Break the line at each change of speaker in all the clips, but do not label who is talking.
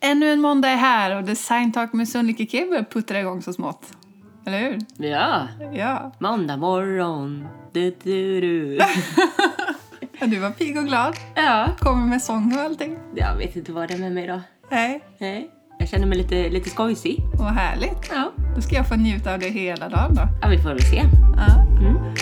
Ännu en måndag är här och Design Talk med Sunlike Kebbe puttrar igång så smått. Eller hur?
Ja,
Ja.
måndag morgon. Du, du, du.
Och du var pigg och glad.
Ja,
Kommer med sång och allting.
jag vet inte vad det är med mig då.
Nej.
Nej, jag känner mig lite, lite skojsig.
Vad härligt.
Ja.
Då ska jag få njuta av det hela dagen då.
ja, vi får väl se.
Ja.
Mm.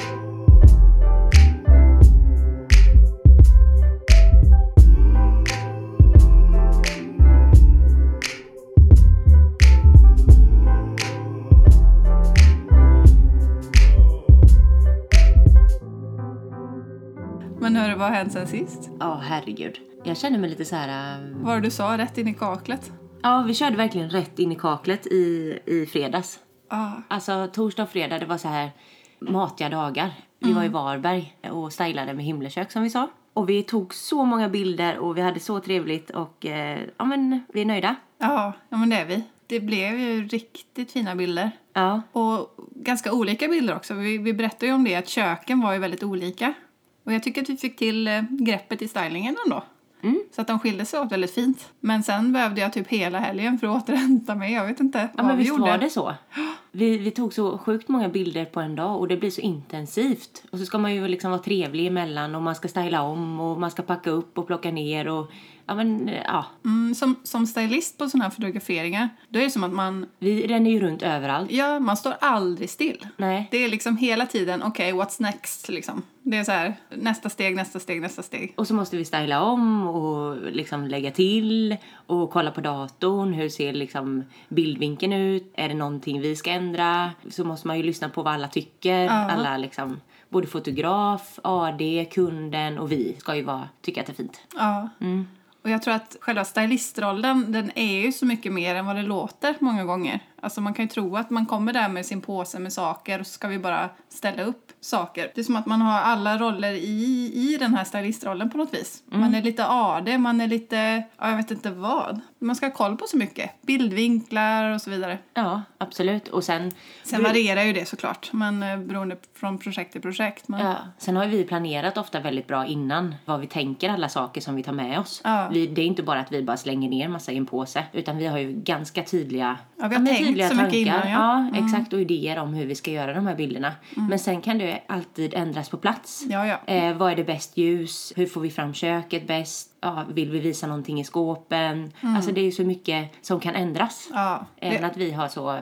Men hörru, vad har hänt sen sist?
Ja, herregud. Jag känner mig lite så här... ähm,
Vad var det du sa? Rätt in i kaklet?
Ja, vi körde verkligen rätt in i kaklet i, i fredags.
Ja.
Alltså torsdag och fredag, det var så här matiga dagar. Vi var i Varberg och stylade med himlekök som vi sa. Och vi tog så många bilder och vi hade så trevligt och eh, ja men vi är nöjda.
Ja, ja men det är vi. Det blev ju riktigt fina bilder.
Ja,
Och ganska olika bilder också. Vi, vi berättade ju om det att köken var ju väldigt olika. Och jag tycker att vi fick till eh, greppet i stylingen ändå.
Mm.
Så att de skilde sig åt väldigt fint. Men sen behövde jag typ hela helgen för att återhämta mig. Jag vet inte
ja
vad
men
vi
visst
gjorde.
var det så? Vi, vi tog så sjukt många bilder på en dag och det blir så intensivt. Och så ska man ju liksom vara trevlig emellan och man ska styla om och man ska packa upp och plocka ner och ja men eh, ja.
Mm, som, som stylist på sådana här fotograferingar, då är det som att man,
Vi ränner ju runt överallt.
ja, man står aldrig still.
Nej.
Det är liksom hela tiden, okej, what's next? Liksom. Det är så här, nästa steg, nästa steg, nästa steg.
Och så måste vi styla om och liksom lägga till och kolla på datorn. Hur ser liksom bildvinkeln ut? Är det någonting vi ska ändra? Så måste man ju lyssna på vad alla tycker. Alla liksom, både fotograf, AD, kunden och vi ska ju vara, tycka att det är fint.
Ja. Och jag tror att själva stylistrollen, den är ju så mycket mer än vad det låter många gånger. Alltså man kan ju tro att man kommer där med sin påse med saker och så ska vi bara ställa upp saker. Det är som att man har alla roller i, i den här stylistrollen på något vis. Man är lite AD, man är lite, ja jag vet inte vad. Man ska ha koll på så mycket. Bildvinklar och så vidare.
Ja, absolut. Och sen,
Sen varierar ju det såklart, men eh, beroende från projekt till projekt. Men...
ja, sen har ju vi planerat ofta väldigt bra innan vad vi tänker, alla saker som vi tar med oss.
Ja.
Vi, det är inte bara att vi bara slänger ner massa i en påse, utan vi har ju ganska tydliga
Ja, vi har
men
tänkt
tydliga
så mycket innan, ja. Mm.
ja. exakt. Och idéer om hur vi ska göra de här bilderna. Men sen kan det alltid ändras på plats.
Ja, ja.
Eh, vad är det bäst ljus? Hur får vi fram köket bäst? Ja, vill vi visa någonting i skåpen? Alltså det är ju så mycket som kan ändras.
Mm. Ja,
Även att vi har så...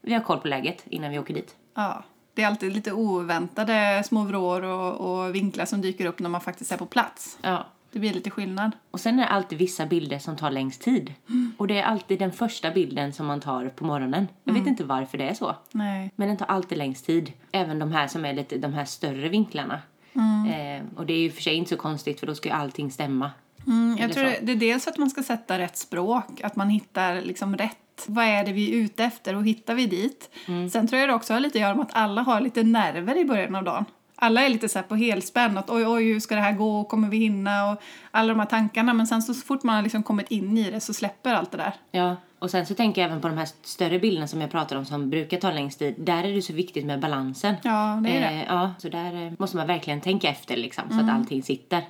Vi har koll på läget innan vi åker dit.
Ja. Det är alltid lite oväntade små vrår och, och vinklar som dyker upp när man faktiskt är på plats.
Ja.
Det blir lite skillnad.
Och sen är det alltid vissa bilder som tar längst tid. Och det är alltid den första bilden som man tar på morgonen. Jag
Mm.
vet inte varför det är så.
Nej. Mm,
Men den tar alltid längst tid. Även de här som är lite de här större vinklarna. Eh, och det är ju för sig inte så konstigt för då ska ju allting stämma.
Mm, jag
Eller
tror
så.
det, det är dels att man ska sätta rätt språk, att man hittar liksom rätt. Vad är det vi är ute efter och hittar vi dit? Sen tror jag det också har lite att göra med att alla har lite nerver i början av dagen. Alla är lite så här på helspänn, att oj, oj, hur ska det här gå och kommer vi hinna och alla de här tankarna. Men sen så fort man har liksom kommit in i det så släpper allt det där.
Ja. Och sen så tänker jag även på de här större bilderna som jag pratar om som brukar ta längst tid. Där är det så viktigt med balansen.
Ja, det är det. Mm.
Eh, ja, så där eh, måste man verkligen tänka efter liksom, så att allting sitter.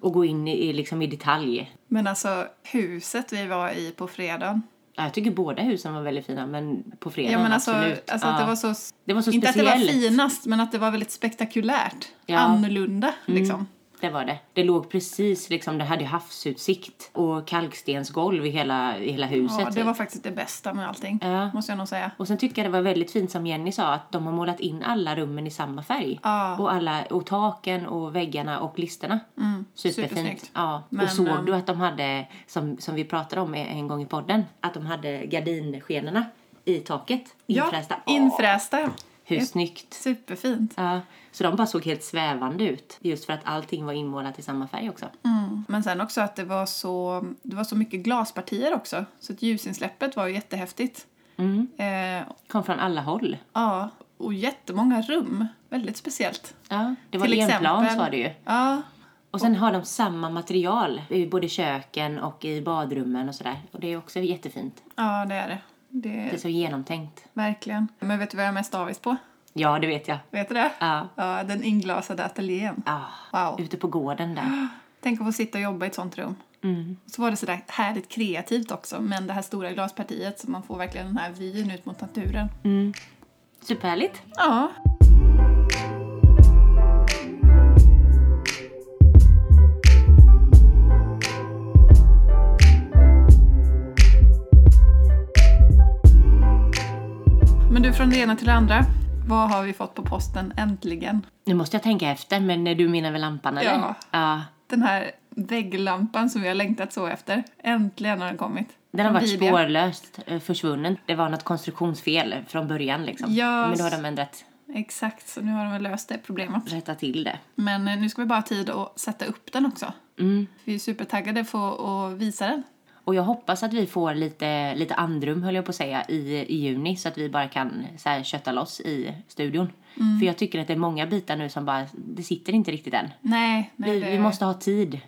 Och gå in i, i, liksom, i detalj.
Men alltså huset vi var i på fredagen,
Ja, jag tycker båda husen var väldigt fina, men på fredagen
Ja, men alltså,
absolut.
alltså
ja.
att det var så...
det var så
inte
speciellt.
att det var finast, men att det var väldigt spektakulärt.
Ja. Mm.
Annorlunda, liksom.
Det var det. Det låg precis liksom, det hade ju havsutsikt och kalkstensgolv i hela, i hela huset.
Ja, det
typ.
var faktiskt det bästa med allting,
Ja.
måste jag nog säga.
Och sen tycker jag det var väldigt fint som Jenny sa att de har målat in alla rummen i samma färg.
Ja.
Och, alla, och taken och väggarna och listerna.
Mm, supersnyggt.
Superfint. Ja.
Men,
och såg
ehm,
du att de hade, som, som vi pratade om en gång i podden, att de hade gardinskenorna i taket? Infrästa.
Ja, infrästa. ja.
Hur snyggt.
Superfint.
Ja. Så de bara såg helt svävande ut. Just för att allting var inmålat i samma färg också.
Mm. Men sen också att det var, så, det var så mycket glaspartier också, så att ljusinsläppet var ju jättehäftigt.
Mm.
Eh,
Kom från alla håll.
ja, och jättemånga rum. Väldigt speciellt.
Ja, det var
Till
enplans
exempel-
var det ju.
Ja,
Och sen har de samma material i både köken och i badrummen och sådär. Och det är också jättefint.
ja det är det. det.
Det är så genomtänkt.
Verkligen. Men vet du vad jag är mest avis på?
Ja, det vet jag.
Vet du det?
Ja.
Ja, den inglasade ateljén.
Ah,
Wow.
Ute på gården där.
Tänk att få sitta och jobba i ett sånt rum. Så var det sådär härligt kreativt också, men det här stora glaspartiet så man får verkligen den här vyn ut mot naturen.
Superhärligt.
Ja. Men du, från det ena till det andra. Vad har vi fått på posten äntligen?
Nu måste jag tänka efter, men eh, du menar väl lampan eller?
Ja.
ja.
Den här vägglampan som vi har längtat så efter. Äntligen har den kommit.
Den har
Från
varit
Bibia.
spårlöst eh, försvunnen. Det var något konstruktionsfel från början liksom.
Ja,
Men då har de ändrat,
Exakt, så nu har de väl löst det problemet.
rättat till det.
Men eh, nu ska vi bara ha tid att sätta upp den också.
Mm.
Vi är supertaggade för att visa den.
Och jag hoppas att vi får lite, lite andrum, höll jag på att säga, i, i juni så att vi bara kan så här, kötta loss i studion. För jag tycker att det är många bitar nu som bara, det sitter inte riktigt än.
Nej, nej
Vi,
det...
vi måste ha tid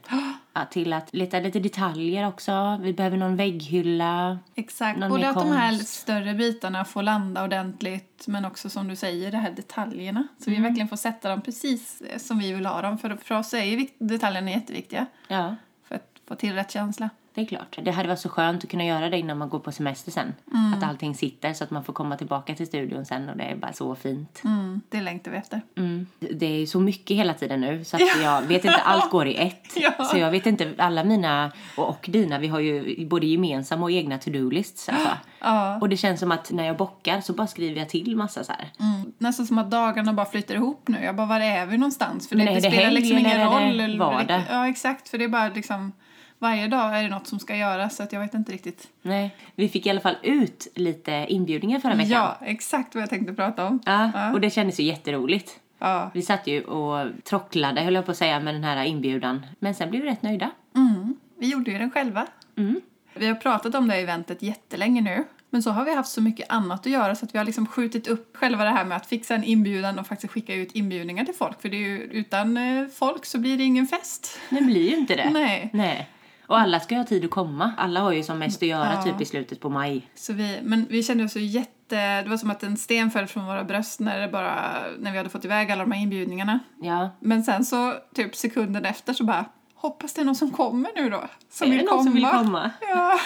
ja, till att leta lite detaljer också. Vi behöver någon vägghylla.
Exakt,
någon
både
mer
att de här
konst.
större bitarna får landa ordentligt men också som du säger, de här detaljerna. Så
Mm.
vi verkligen får sätta dem precis eh, som vi vill ha dem. För, för oss är ju vik- detaljerna jätteviktiga
Ja,
för att få till rätt känsla.
det är klart. Det hade varit så skönt att kunna göra det innan man går på semester sen. Att allting sitter så att man får komma tillbaka till studion sen och det är bara så fint.
Mm, det längtar vi efter.
Mm. Det är ju så mycket hela tiden nu så att jag vet inte, allt går i ett.
Ja.
Så jag vet inte, alla mina och, och dina, vi har ju både gemensamma och egna to-do-lists. Alltså.
Ja.
Och det känns som att när jag bockar så bara skriver jag till massa så här.
Mm. Nästan som att dagarna bara flyter ihop nu. Jag bara, var är vi någonstans? För det,
Men
det
är det
spelar
helg
liksom ingen
eller är det
roll. eller
vardag?
riktigt- Ja, exakt. För det är bara liksom, varje dag är det något som ska göras så att jag vet inte riktigt.
Nej. Vi fick i alla fall ut lite inbjudningar förra veckan.
Ja, exakt vad jag tänkte prata om.
Ja,
Ja.
Och det kändes ju jätteroligt.
Ja.
Vi satt ju och trocklade, höll jag på att säga, med den här inbjudan. Men sen blev vi rätt nöjda.
Mm. Vi gjorde ju den själva.
Mm.
Vi har pratat om det här eventet jättelänge nu. Men så har vi haft så mycket annat att göra så att vi har liksom skjutit upp själva det här med att fixa en inbjudan och faktiskt skicka ut inbjudningar till folk. För det är ju, utan eh, folk så blir det ingen fest.
Det blir ju inte det.
Nej.
Nej. Och alla ska ju ha tid att komma. Alla har ju som mest att göra
Ja.
typ i slutet på maj.
Så vi, men vi kände oss ju jätte... Det var som att en sten föll från våra bröst när, det bara, när vi hade fått iväg alla de här inbjudningarna.
Ja.
Men sen så, typ sekunden efter så bara, hoppas det är någon som kommer nu då. Som
Är det någon som vill komma?
Ja.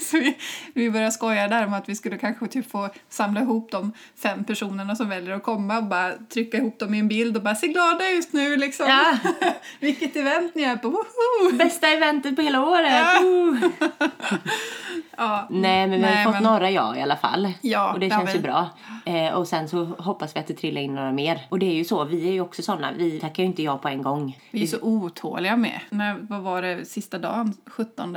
så vi, vi började skoja där om att vi skulle kanske typ få samla ihop de fem personerna som väljer att komma och bara trycka ihop dem i en bild och bara se glada ut nu liksom.
Ja.
Vilket event ni är på, woho!
Bästa eventet på hela året!
Ja.
Woo!
Ja,
Nej, men vi har
Nej,
ju fått
men-
några ja i alla fall.
Ja,
och det
det har
känns
vi.
ju bra. Eh, och sen så hoppas vi att det trillar in några mer. Och det är ju så, vi är ju också sådana. Vi tackar ju inte ja på en gång.
vi är så otåliga med. När, vad var det sista dagen? 17,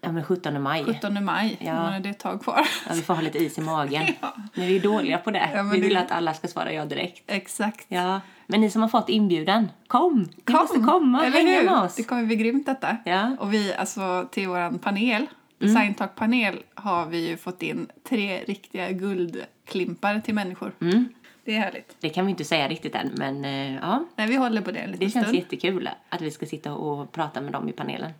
Ja, men 17 maj.
17 maj?
Ja.
Men Det är ett tag kvar.
Ja, vi får ha lite is i magen.
Ja.
Men vi är dåliga på det.
Ja, men
vi vill
det-
att alla ska svara ja direkt.
Exakt.
Ja. Men ni som har fått inbjudan, kom! Ni
Kom!
måste komma och
Eller
hänga
hur?
med oss.
Det kommer bli grymt detta.
Ja. Mm.
Och vi, alltså till vår panel, Design Talk panel har vi ju fått in tre riktiga guldklimpar till människor.
Mm.
Det är härligt.
Det kan vi inte säga riktigt än, men eh, ja.
Nej, vi håller på det en liten
Det känns
stund.
jättekul att vi ska sitta och prata med dem i panelen.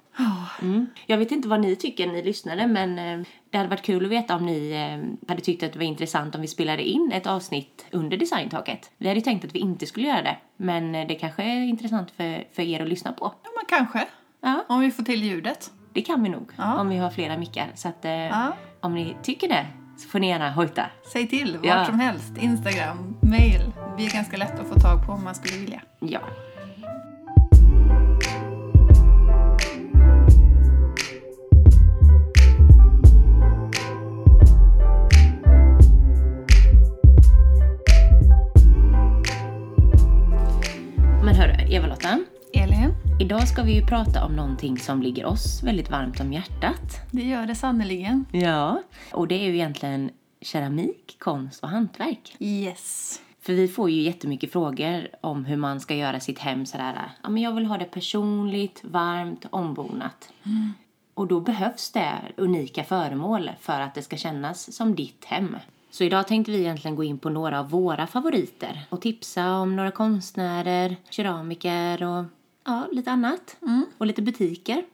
Mm. Jag vet inte vad ni tycker, ni lyssnare, men eh, det hade varit kul att veta om ni eh, hade tyckt att det var intressant om vi spelade in ett avsnitt under designtaket. Vi hade ju tänkt att vi inte skulle göra det, men eh, det kanske är intressant för, för er att lyssna på.
Ja, men kanske.
Ja,
Om vi får till ljudet.
det kan vi nog
Ja.
om vi har flera mickar. Så att, eh,
Ja.
om ni tycker det så får ni gärna hojta.
Säg till, vart
Ja.
som helst. Instagram, mail. Vi är ganska lätta att få tag på om man skulle vilja.
Ja. Men hörru, Eva-Lotta.
Elin,
Idag ska vi ju prata om någonting som ligger oss väldigt varmt om hjärtat.
det gör det sannerligen.
Ja. Och det är ju egentligen keramik, konst och hantverk.
Yes.
För vi får ju jättemycket frågor om hur man ska göra sitt hem sådär. Ja, men jag vill ha det personligt, varmt, ombonat. Och då behövs det unika föremål för att det ska kännas som ditt hem. Så idag tänkte vi egentligen gå in på några av våra favoriter och tipsa om några konstnärer, keramiker och ja, lite annat. Och lite butiker.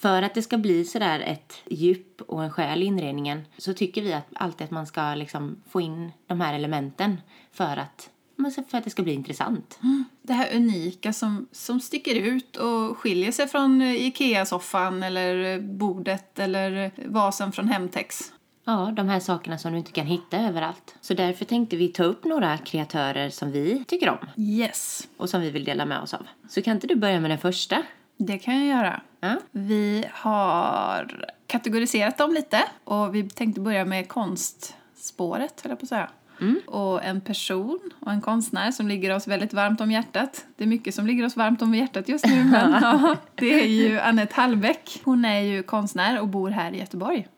För att det ska bli sådär ett djup och en själ i inredningen så tycker vi att alltid att man ska liksom få in de här elementen för att men så för att det ska bli intressant.
Det här unika som, som sticker ut och skiljer sig från eh, Ikea-soffan eller eh, bordet eller vasen från Hemtex.
Ja, de här sakerna som du inte kan hitta överallt. Så därför tänkte vi ta upp några kreatörer som vi tycker om
Yes,
och som vi vill dela med oss av. Så kan inte du börja med den första?
det kan jag göra.
Ja.
Vi har kategoriserat dem lite och vi tänkte börja med konstspåret, höll jag på att säga. Och en person och en konstnär som ligger oss väldigt varmt om hjärtat. Det är mycket som ligger oss varmt om hjärtat just nu, men ja, det är ju Annette Hallbäck. Hon är ju konstnär och bor här i Göteborg.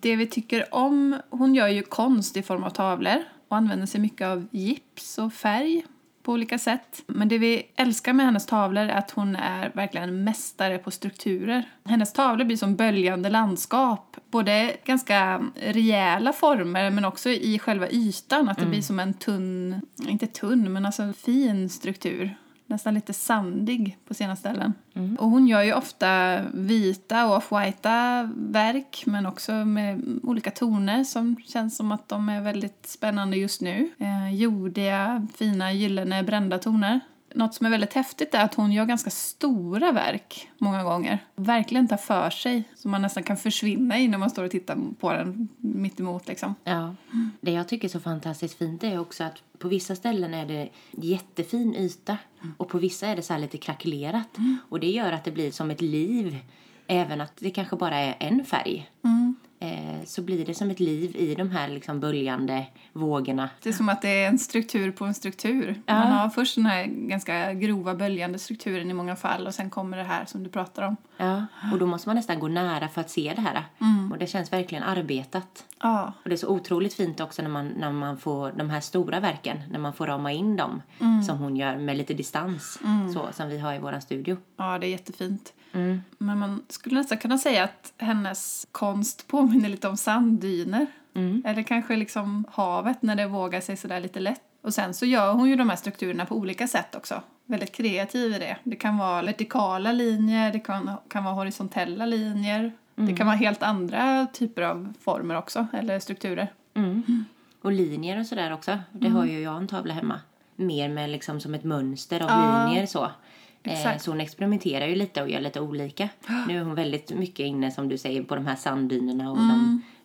Det vi tycker om, hon gör ju konst i form av tavlor och använder sig mycket av gips och färg på olika sätt. Men det vi älskar med hennes tavlor är att hon är verkligen en mästare på strukturer. Hennes tavlor blir som böljande landskap, både ganska rejäla former men också i själva ytan, att det blir som en tunn, inte tunn, men alltså en fin struktur nästan lite sandig på sina ställen. Och hon gör ju ofta vita och off-whitea verk men också med olika toner som känns som att de är väldigt spännande just nu. Eh, jordiga, fina, gyllene, brända toner. Något som är väldigt häftigt är att hon gör ganska stora verk många gånger. Verkligen tar för sig, så man nästan kan försvinna i när man står och tittar på den mitt emot liksom.
Ja. Det jag tycker är så fantastiskt fint är också att på vissa ställen är det jättefin yta och på vissa är det så här lite krackelerat. Och det gör att det blir som ett liv, även att det kanske bara är en färg. Eh, så blir det som ett liv i de här liksom böljande vågorna.
Det är som att det är en struktur på en struktur.
Ja.
Man har först den här ganska grova böljande strukturen i många fall och sen kommer det här som du pratar om.
Ja. Och då måste man nästan gå nära för att se det här. Och det känns verkligen arbetat.
Ja,
Och det är så otroligt fint också när man, när man får de här stora verken, när man får rama in dem som hon gör med lite distans, så som vi har i våran studio.
ja det är jättefint.
Mm.
Men man skulle nästan kunna säga att hennes konst påminner lite om sanddyner.
Mm.
Eller kanske liksom havet när det vågar sig sådär lite lätt. Och sen så gör hon ju de här strukturerna på olika sätt också. Väldigt kreativ i det. Det kan vara vertikala linjer, det kan, kan vara horisontella linjer. Det
Mm.
kan vara helt andra typer av former också, eller strukturer.
Och linjer och sådär också, det
Mm.
har ju jag en tavla hemma. Mer med liksom som ett mönster av
Ja.
linjer så. Eh,
Exakt.
så hon experimenterar ju lite och gör lite olika. Nu är hon väldigt mycket inne som du säger på de här sanddynerna och
Mm.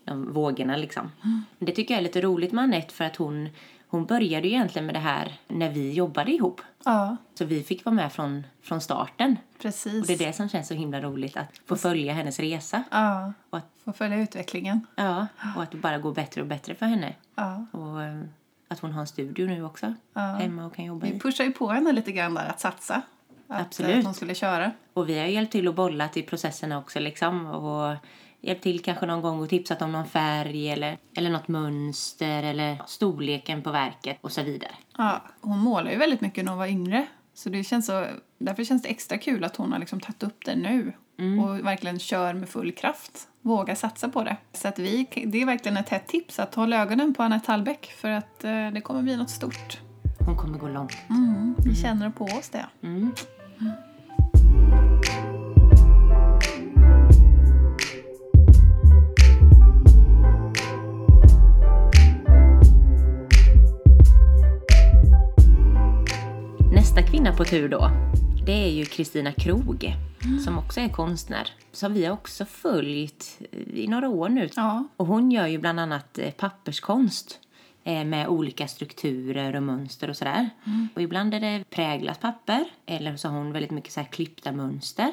de, de vågorna liksom. Det tycker jag är lite roligt med Anette för att hon, hon började ju egentligen med det här när vi jobbade ihop.
Ja,
Så vi fick vara med från, från starten.
precis.
Och det är det som känns så himla roligt, att få följa hennes resa.
Ja,
Och att,
få följa utvecklingen.
ja, och att det bara går bättre och bättre för henne.
Ja.
Och eh, att hon har en studio nu också, hemma och kan jobba
Vi
i.
pushar ju på henne lite grann där att satsa. Att,
Absolut.
Att hon skulle köra.
Och vi har hjälpt till och bollat i processerna också liksom. Och hjälpt till kanske någon gång och tipsat om någon färg eller, eller något mönster eller storleken på verket och så vidare.
Ja, hon målar ju väldigt mycket när hon var yngre. Så det känns så, därför känns det extra kul att hon har liksom tagit upp det nu och verkligen kör med full kraft. Våga satsa på det. Så att vi, det är verkligen ett hett tips att hålla ögonen på Anette Hallbäck för att eh, det kommer bli något stort.
Hon kommer gå långt.
Mm, vi känner på oss det.
Nästa kvinna på tur då, det är ju Kristina Krog som också är konstnär. Som vi har också följt i några år nu.
Ja.
Och hon gör ju bland annat eh, papperskonst eh, med olika strukturer och mönster och sådär. Och ibland är det präglat papper eller så har hon väldigt mycket så här klippta mönster.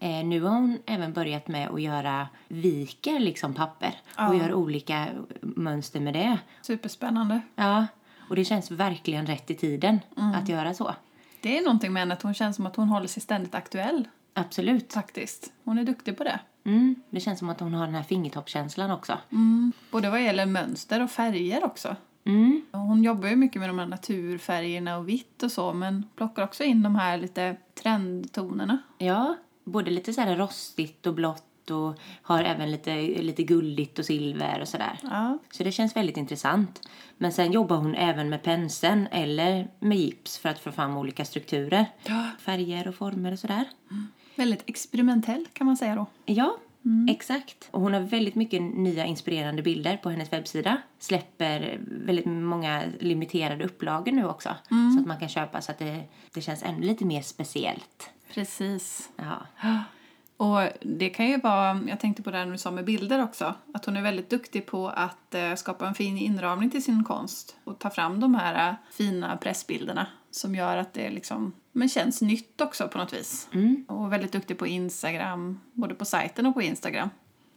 Eh, nu har hon även börjat med att göra viker liksom papper och gör olika mönster med det.
Superspännande.
Ja, och det känns verkligen rätt i tiden att göra så.
Det är någonting med henne att hon känns som att hon håller sig ständigt aktuell.
Absolut.
Faktiskt. Hon är duktig på det.
Mm. Det känns som att hon har den här fingertoppskänslan också.
Både vad gäller mönster och färger också.
Mm.
Hon jobbar ju mycket med de här naturfärgerna och vitt och så men plockar också in de här lite trendtonerna.
Ja, både lite så här rostigt och blått och har även lite, lite guldigt och silver och sådär.
Ja.
Så det känns väldigt intressant. Men sen jobbar hon även med penseln eller med gips för att få fram olika strukturer.
Ja.
Färger och former och sådär.
Väldigt experimentell kan man säga då.
Ja,
Mm.
Exakt. Och hon har väldigt mycket nya inspirerande bilder på hennes webbsida. Släpper väldigt många limiterade upplagor nu också.
Mm.
Så att man kan köpa så att det, det känns ännu lite mer speciellt.
Precis.
Ja.
Och det kan ju vara, jag tänkte på det här du sa med bilder också, att hon är väldigt duktig på att eh, skapa en fin inramning till sin konst och ta fram de här eh, fina pressbilderna som gör att det liksom, men känns nytt också på något vis. Och väldigt duktig på Instagram, både på sajten och på Instagram.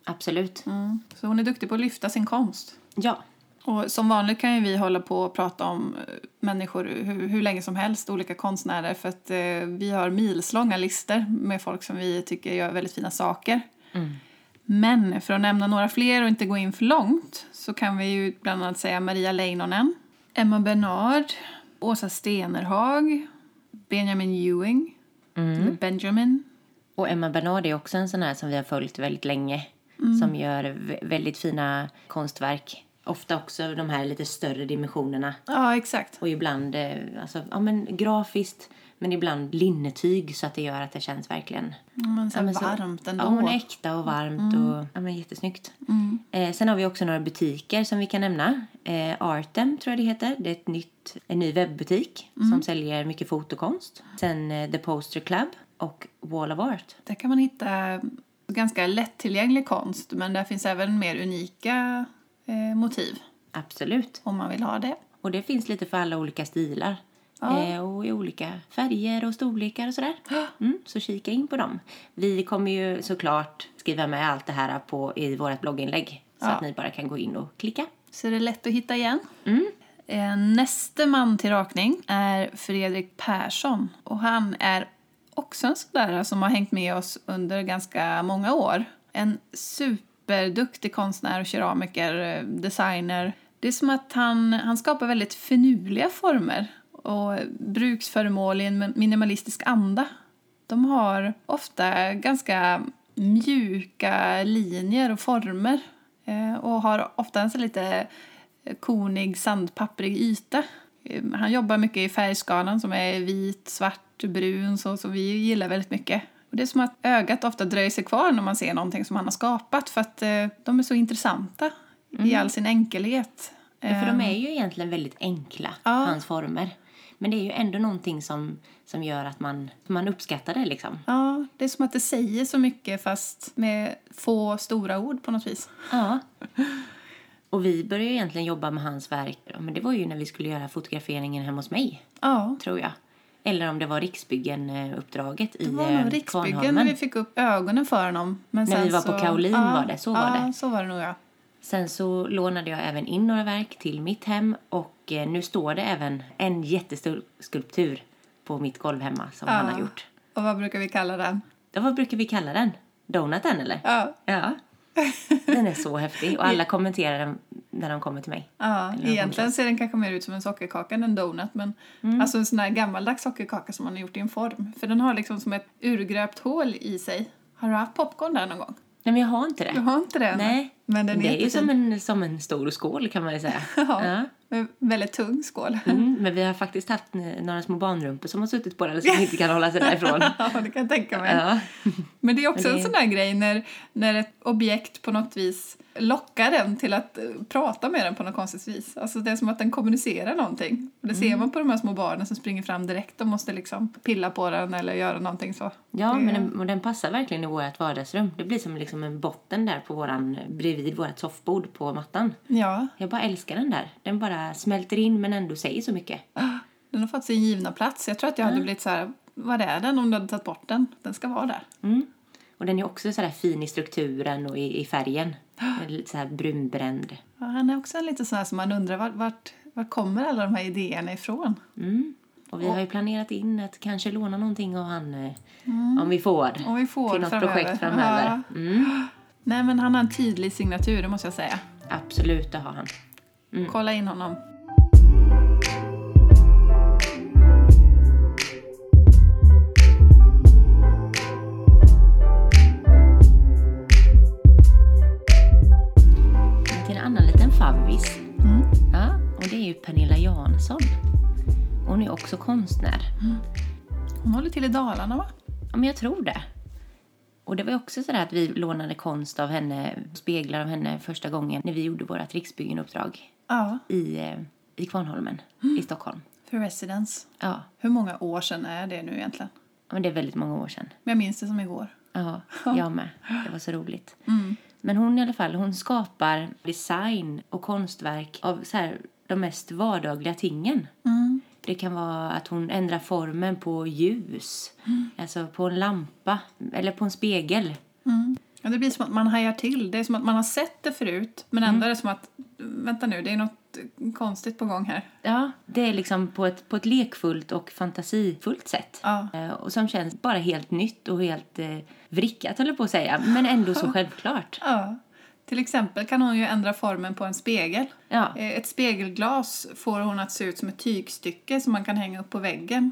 Absolut.
Mm. Så hon är duktig på att lyfta sin konst.
Ja.
Och som vanligt kan ju vi hålla på och prata om eh, människor hur, hur länge som helst, olika konstnärer, för att eh, vi har milslånga listor med folk som vi tycker gör väldigt fina saker.
Mm.
Men för att nämna några fler och inte gå in för långt så kan vi ju bland annat säga Maria Leinonen, Emma Bernard, Åsa Stenerhag, Benjamin Ewing,
Mm.
eller Benjamin.
Och Emma Bernard är också en sån här som vi har följt väldigt länge.
Mm.
Som gör vä- väldigt fina konstverk. Ofta också de här lite större dimensionerna.
Ja, exakt.
Och ibland eh, alltså, ja, men grafiskt, men ibland linnetyg så att det gör att det känns verkligen
Men så
ja, men så-
varmt ändå. Mm.
Ja, hon är äkta och varmt och ja, men jättesnyggt. Eh, sen har vi också några butiker som vi kan nämna. Eh, Artem tror jag det heter. Det är ett nytt, en ny webbutik
Mm.
som säljer mycket fotokonst. Sen eh, The Poster Club och Wall of Art.
Där kan man hitta ganska lättillgänglig konst men där finns även mer unika eh, motiv
Absolut.
om man vill ha det.
Och det finns lite för alla olika stilar. Eh, och i olika färger och storlekar och sådär. Mm, så kika in på dem. Vi kommer ju såklart skriva med allt det här på, i vårt blogginlägg. Så att ni bara kan gå in och klicka.
Så det är lätt att hitta igen. Eh, näste man till rakning är Fredrik Persson och han är också en sådär som har hängt med oss under ganska många år. En superduktig konstnär och keramiker, eh, designer. Det är som att han, han skapar väldigt finurliga former och bruksföremål i en minimalistisk anda. De har ofta ganska mjuka linjer och former eh, och har ofta en så lite konig, sandpapprig yta. Eh, Han jobbar mycket i färgskalan som är vit, svart, brun, så som vi gillar väldigt mycket. Och det är som att ögat ofta dröjer sig kvar när man ser någonting som han har skapat för att eh, de är så intressanta i all sin enkelhet.
Ja, För de är ju egentligen väldigt enkla, hans former. Men det är ju ändå någonting som, som gör att man, man uppskattar det liksom.
Ehm, Ja, det är som att det säger så mycket fast med få stora ord på något vis.
Ja. Och vi började ju egentligen jobba med hans verk, ja, men det var ju när vi skulle göra fotograferingen hemma hos mig,
Ja.
tror jag. Eller om det var Riksbyggen-uppdraget i
Det var nog
eh,
Riksbyggen när
Kvarnholmen.
vi fick upp ögonen för honom. Men
När vi
sen
var på
så-
Kaolin var det, så var
ja,
det.
så var det nog ja.
Sen så lånade jag även in några verk till mitt hem och eh, nu står det även en jättestor skulptur på mitt golv hemma som han har gjort.
Och vad brukar vi kalla den?
Ja, vad brukar vi kalla den? Donaten eller?
Ja.
Ja. Den är så häftig och alla kommenterar den när de kommer till mig.
Ja,
Eller
egentligen ser den kanske mer ut som en sockerkaka än en donut. Men
Mm.
Alltså en sån här gammaldags sockerkaka som man har gjort i en form. För den har liksom som ett urgröpt hål i sig. Har du haft popcorn där någon gång?
Nej men jag har inte
Du
det.
har inte det?
Nej.
Men den är,
det är ju
jättefin.
som en, som en stor skål kan man ju säga.
Ja. En väldigt tung skål.
Mm, men vi har faktiskt haft n- några små barnrumpor som har suttit på den som inte kan hålla sig därifrån.
ja, det kan jag tänka mig.
Ja.
Men det är också
Men det-
en sån där grej när, när ett objekt på något vis lockar den till att eh, prata med den på något konstigt vis. Alltså det är som att den kommunicerar någonting. Och det
Mm.
ser man på de här små barnen som springer fram direkt och måste liksom pilla på den eller göra någonting så.
Ja,
Det-
men den, och den passar verkligen i vårt vardagsrum. Det blir som liksom en botten där på våran, bredvid vårt soffbord på mattan.
Ja,
Jag bara älskar den där. Den bara smälter in men ändå säger så mycket.
den har fått sin givna plats. Jag tror att jag
Mm.
hade blivit så här, vad är den om du hade tagit bort den? Den ska vara där.
Mm. Och den är också sådär fin i strukturen och i, i färgen. Den är Lite såhär brunbränd.
Ja, han är också en lite sån här som man undrar vart, vart, vart kommer alla de här idéerna ifrån?
Mm. Och vi har ju planerat in att kanske låna någonting av han eh, om vi får.
Mm. Om vi får
till något
framöver.
projekt framöver. Mm.
Nej men han har en tydlig signatur, det måste jag säga.
Absolut, det har han. Mm.
Kolla in honom.
Men till en annan liten favvis. Ja, och det är ju Pernilla Jansson. Hon är också konstnär.
Hon håller till i Dalarna va?
Ja, men jag tror det. Och det var ju också sådär att vi lånade konst av henne, speglar av henne första gången när vi gjorde vårt Riksbyggenuppdrag
Ja,
i, eh, i Kvarnholmen i Stockholm.
för Residence.
Ja,
Hur många år sedan är det nu egentligen?
men det är väldigt många år sedan.
Men jag minns det som igår.
Ja, Mm. jag med. Det var så roligt. Men hon i alla fall, hon skapar design och konstverk av så här, de mest vardagliga tingen. Det kan vara att hon ändrar formen på ljus, alltså på en lampa eller på en spegel.
Ja, det blir som att man hajar till. Det är som att man har sett det förut, men ändå är det som att vänta nu, det är något konstigt på gång här.
Ja, det är liksom på ett, på ett lekfullt och fantasifullt sätt.
Ja.
Eh, Och som känns bara helt nytt och helt eh, vrickat höll jag på att säga, men ändå så självklart.
Ja. Till exempel kan hon ju ändra formen på en spegel.
Ja.
Eh, Ett spegelglas får hon att se ut som ett tygstycke som man kan hänga upp på väggen.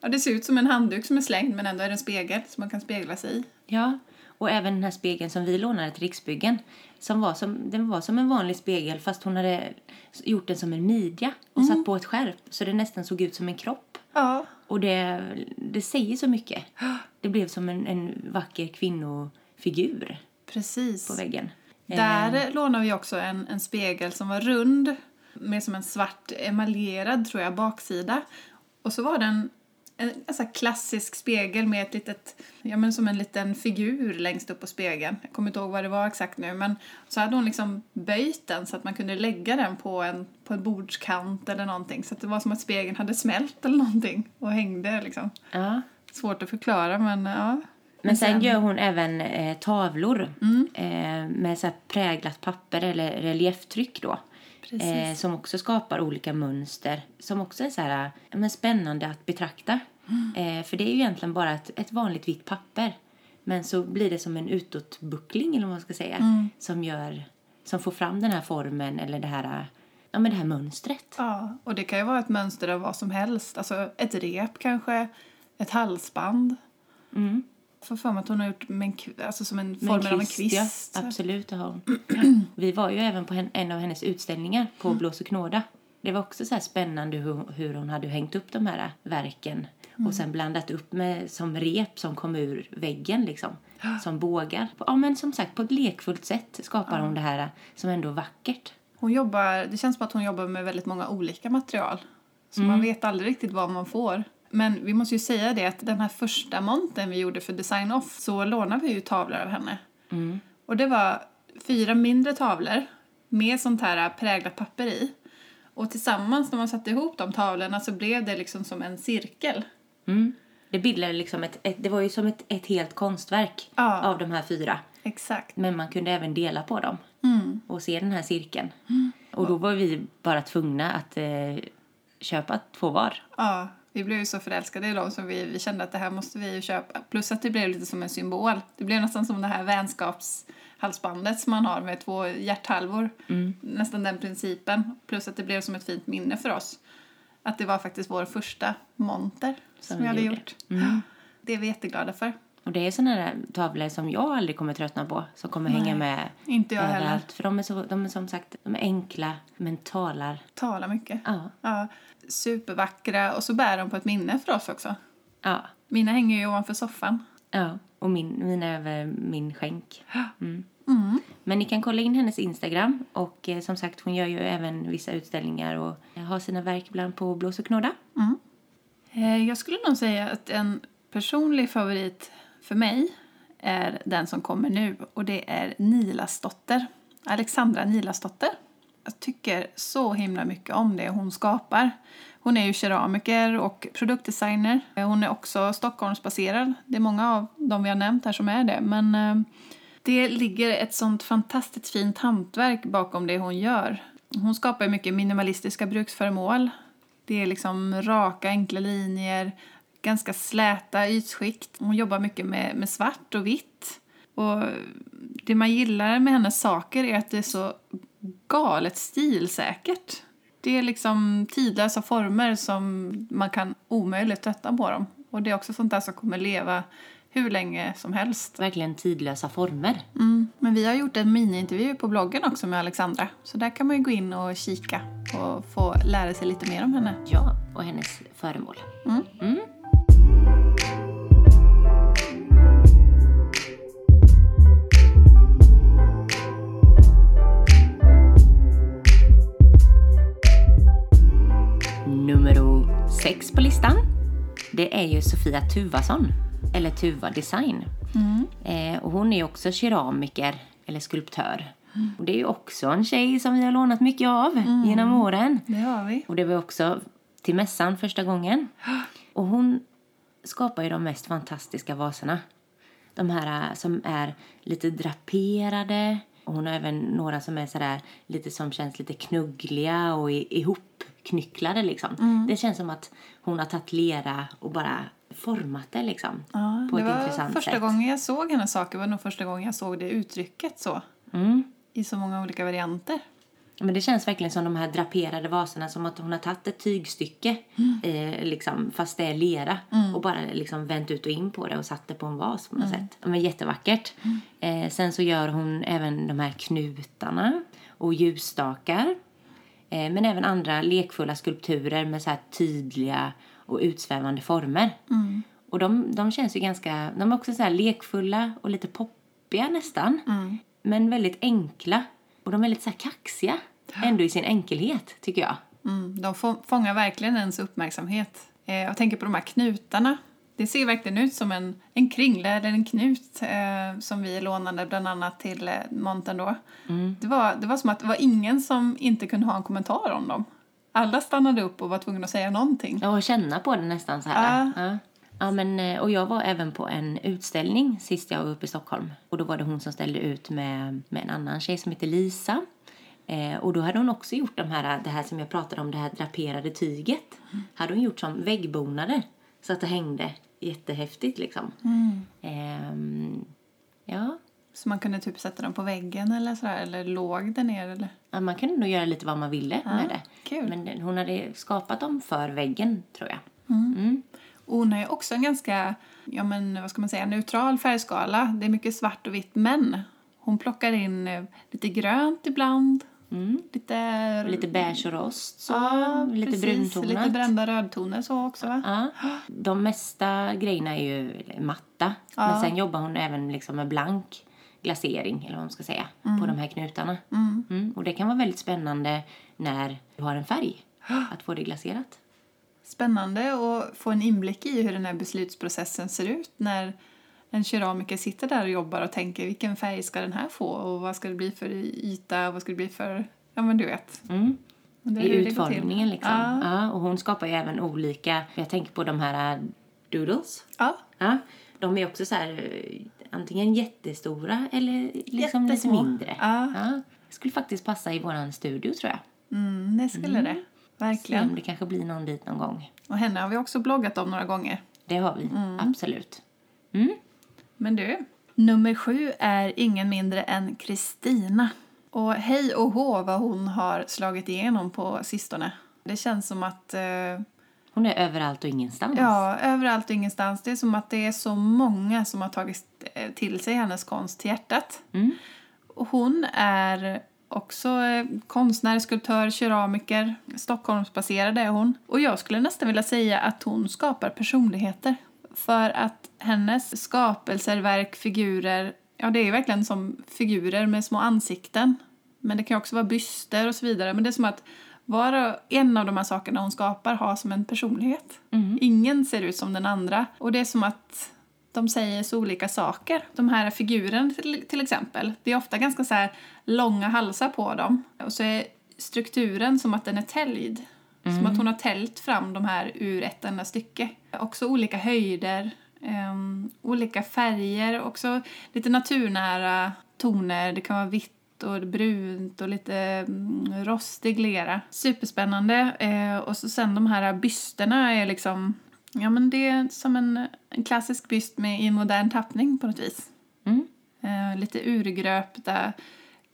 Ja, det ser ut som en handduk som är slängd men ändå är det en spegel som man kan spegla sig i.
Ja, och även den här spegeln som vi lånade till Riksbyggen. Som var som, den var som en vanlig spegel fast hon hade gjort den som en midja och satt på ett skärp så det nästan såg ut som en kropp.
Ja,
Och det, det säger så mycket. Det blev som en, en vacker kvinnofigur
precis.
på väggen.
Där lånade vi också en, en spegel som var rund med som en svart emaljerad tror jag baksida. Och så var den en ganska klassisk spegel med ett litet, ja men som en liten figur längst upp på spegeln. Jag kommer inte ihåg vad det var exakt nu men så hade hon liksom böjt den så att man kunde lägga den på en, på en bordskant eller någonting. Så att det var som att spegeln hade smält eller någonting och hängde liksom.
Ja.
Svårt att förklara men ja.
Men sen gör hon även eh, tavlor eh, med så här präglat papper eller relieftryck då.
Precis.
Eh, som också skapar olika mönster som också är så här, eh, men spännande att betrakta. Eh, för det är ju egentligen bara ett, ett vanligt vitt papper. Men så blir det som en utåtbuckling eller vad man ska säga. Som, gör, som får fram den här formen eller det här, eh, ja, men det här mönstret.
Ja, och det kan ju vara ett mönster av vad som helst. Alltså ett rep kanske, ett halsband.
Mm.
Får för mig att hon har gjort med en, kv- alltså som en
Med
form av en kvist.
Ja, absolut, det har hon. Vi var ju även på hen- en av hennes utställningar på
Mm.
Blås och knåda. Det var också så här spännande hur, hur hon hade hängt upp de här verken
Mm.
och sen blandat upp med som rep som kom ur väggen liksom. Som bågar. Ja men som sagt på ett lekfullt sätt skapar hon det här som ändå är vackert.
Hon jobbar, det känns som att hon jobbar med väldigt många olika material. Så man vet aldrig riktigt vad man får. Men vi måste ju säga det att den här första montern vi gjorde för Design Off så lånade vi ju tavlor av henne. Och det var fyra mindre tavlor med sånt här präglat papper i. Och tillsammans när man satte ihop de tavlorna så blev det liksom som en cirkel.
Mm. Det bildade liksom ett, ett det var ju som ett, ett helt konstverk
Ja.
av de här fyra.
Exakt.
Men man kunde även dela på dem
Mm.
och se den här cirkeln. Och då var vi bara tvungna att eh, köpa två var.
Ja, vi blev ju så förälskade i dem så vi, vi kände att det här måste vi ju köpa. Plus att det blev lite som en symbol. Det blev nästan som det här vänskapshalsbandet som man har med två hjärthalvor.
Mm.
Nästan den principen. Plus att det blev som ett fint minne för oss. Att det var faktiskt vår första monter som,
vi
vi hade
gjorde. Mm.
gjort. Det är vi jätteglada för.
Och det är såna där tavlor som jag aldrig kommer tröttna på. Som kommer hänga med
Inte jag heller.
För de är, så, de är som sagt de är enkla men talar.
Tala mycket.
Ja.
Ja, supervackra och så bär de på ett minne för oss också.
Ja.
Mina hänger ju ovanför soffan.
ja. Och min, mina över min skänk. Mm. Men ni kan kolla in hennes Instagram. Och eh, som sagt hon gör ju även vissa utställningar och eh, har sina verk ibland på Blås och knåda.
Eh, Jag skulle nog säga att en personlig favorit för mig är den som kommer nu och det är Nilasdotter. Alexandra Nilasdotter. Jag tycker så himla mycket om det hon skapar. Hon är ju keramiker och produktdesigner. Eh, Hon är också Stockholmsbaserad. Det är många av dem vi har nämnt här som är det. Men eh, det ligger ett sånt fantastiskt fint hantverk bakom det hon gör. Hon skapar ju mycket minimalistiska bruksföremål. Det är liksom raka, enkla linjer, ganska släta ytskikt. Hon jobbar mycket med, med svart och vitt. Och det man gillar med hennes saker är att det är så galet stilsäkert. Det är liksom tidlösa former som man kan omöjligt trötta på dem. Och det är också sånt där som kommer leva hur länge som helst.
Verkligen tidlösa former.
Mm. Men vi har gjort en miniintervju på bloggen också med Alexandra. Så där kan man ju gå in och kika och få lära sig lite mer om henne.
Ja, och hennes föremål.
Mm.
Mm. sex på listan, det är ju Sofia Tuvason, eller Tuva Design. Eh, och hon är ju också keramiker, eller skulptör. Och det är ju också en tjej som vi har lånat mycket av genom åren.
Det har vi.
Och det var också till mässan första gången. Och hon skapar ju de mest fantastiska vaserna. De här eh, som är lite draperade. Och hon har även några som är sådär lite som känns lite knuggliga och i- ihopknycklade liksom.
Mm.
Det känns som att hon har tagit lera och bara format det liksom.
Ja,
på
det
ett
var
intressant
första
sätt.
gången jag såg hennes saker var nog första gången jag såg det uttrycket så.
Mm.
I så många olika varianter.
Men det känns verkligen som de här draperade vaserna, som att hon har tagit ett tygstycke, eh, liksom, fast det är lera, och bara liksom vänt ut och in på det och satt det på en vas på något sätt. Ja, Men jättevackert. Eh, sen så gör hon även de här knutarna och ljusstakar. Eh, men även andra lekfulla skulpturer med så här tydliga och utsvävande former. Och de, de känns ju ganska, de är också så här lekfulla och lite poppiga nästan. Men väldigt enkla. Och de är lite så här kaxiga. Ändå i sin enkelhet, tycker jag.
Mm, de få, fångar verkligen ens uppmärksamhet. Eh, jag tänker på de här knutarna. Det ser verkligen ut som en, en kringla eller en knut eh, som vi lånade bland annat till eh, montern då.
Mm.
Det, var, det var som att det var ingen som inte kunde ha en kommentar om dem. Alla stannade upp och var tvungna att säga någonting.
Ja, Och känna på det nästan så här. Ja. Ja, men, eh, och jag var även på en utställning sist jag var uppe i Stockholm. Och då var det hon som ställde ut med, med en annan tjej som heter Lisa. Eh, och då hade hon också gjort de här, det här som jag pratade om, det här draperade tyget. Hade hon gjort som väggbonader. Så att det hängde jättehäftigt liksom. Ehm, ja,
Så man kunde typ sätta dem på väggen eller sådär, eller låg där ner eller...
Ja, man kunde nog göra lite vad man ville med det.
kul.
Men den- hon hade skapat dem för väggen, tror jag. Mm.
Och hon har ju också en ganska, ja men vad ska man säga, neutral färgskala. Det är mycket svart och vitt, men hon plockar in eh, lite grönt ibland. Lite...
Mm. Och Lite beige och rost, så.
Mm. ja,
lite
precis.
bruntonat.
Lite brända rödtoner så också va?
Ja. De mesta grejerna är ju matta. Men sen jobbar hon även liksom med blank glasering, eller vad man ska säga, på de här knutarna. Mm. Och det kan vara väldigt spännande när du har en färg, att få det glaserat.
Spännande att få en inblick i hur den här beslutsprocessen ser ut när en keramiker sitter där och jobbar och tänker vilken färg ska den här få och vad ska det bli för yta och vad ska det bli för, ja men du vet.
Mm.
Men det är
I
hur det går till.
utformningen liksom.
Ja.
Ja. och hon skapar ju även olika, jag tänker på de här äh, doodles.
ja.
Ja, de är också så här eh, antingen jättestora eller liksom lite
Jättesmå.
mindre.
Ja.
Skulle faktiskt passa i våran studio tror jag.
Mm, det skulle det.
Se
Verkligen.
om det kanske blir någon dit någon gång.
Och henne har vi också bloggat om några gånger.
Det har vi,
Mm.
absolut.
Men du, nummer sju är ingen mindre än Kristina. Och hej och hå vad hon har slagit igenom på sistone. Det känns som att, eh,
Hon är överallt och ingenstans.
ja, överallt och ingenstans. Det är som att det är så många som har tagit eh, till sig hennes konst till hjärtat. Och hon är också eh, konstnär, skulptör, keramiker. Stockholmsbaserad är hon. Och jag skulle nästan vilja säga att hon skapar personligheter. För att hennes skapelser, verk, figurer, ja det är ju verkligen som figurer med små ansikten. Men det kan ju också vara byster och så vidare. Men det är som att var och en av de här sakerna hon skapar har som en personlighet. Ingen ser ut som den andra. Och det är som att de säger så olika saker. De här figurerna till, till exempel, det är ofta ganska så här långa halsar på dem. Och så är strukturen som att den är täljd. Som att hon har täljt fram de här ur ett enda stycke. Också olika höjder, ehm, olika färger, också lite naturnära toner. Det kan vara vitt och brunt och lite mm, rostig lera. Superspännande. Eh, och så sen de här bysterna är liksom... Ja, men det är som en, en klassisk byst med, i modern tappning på något vis.
Mm.
Eh, lite urgröpta,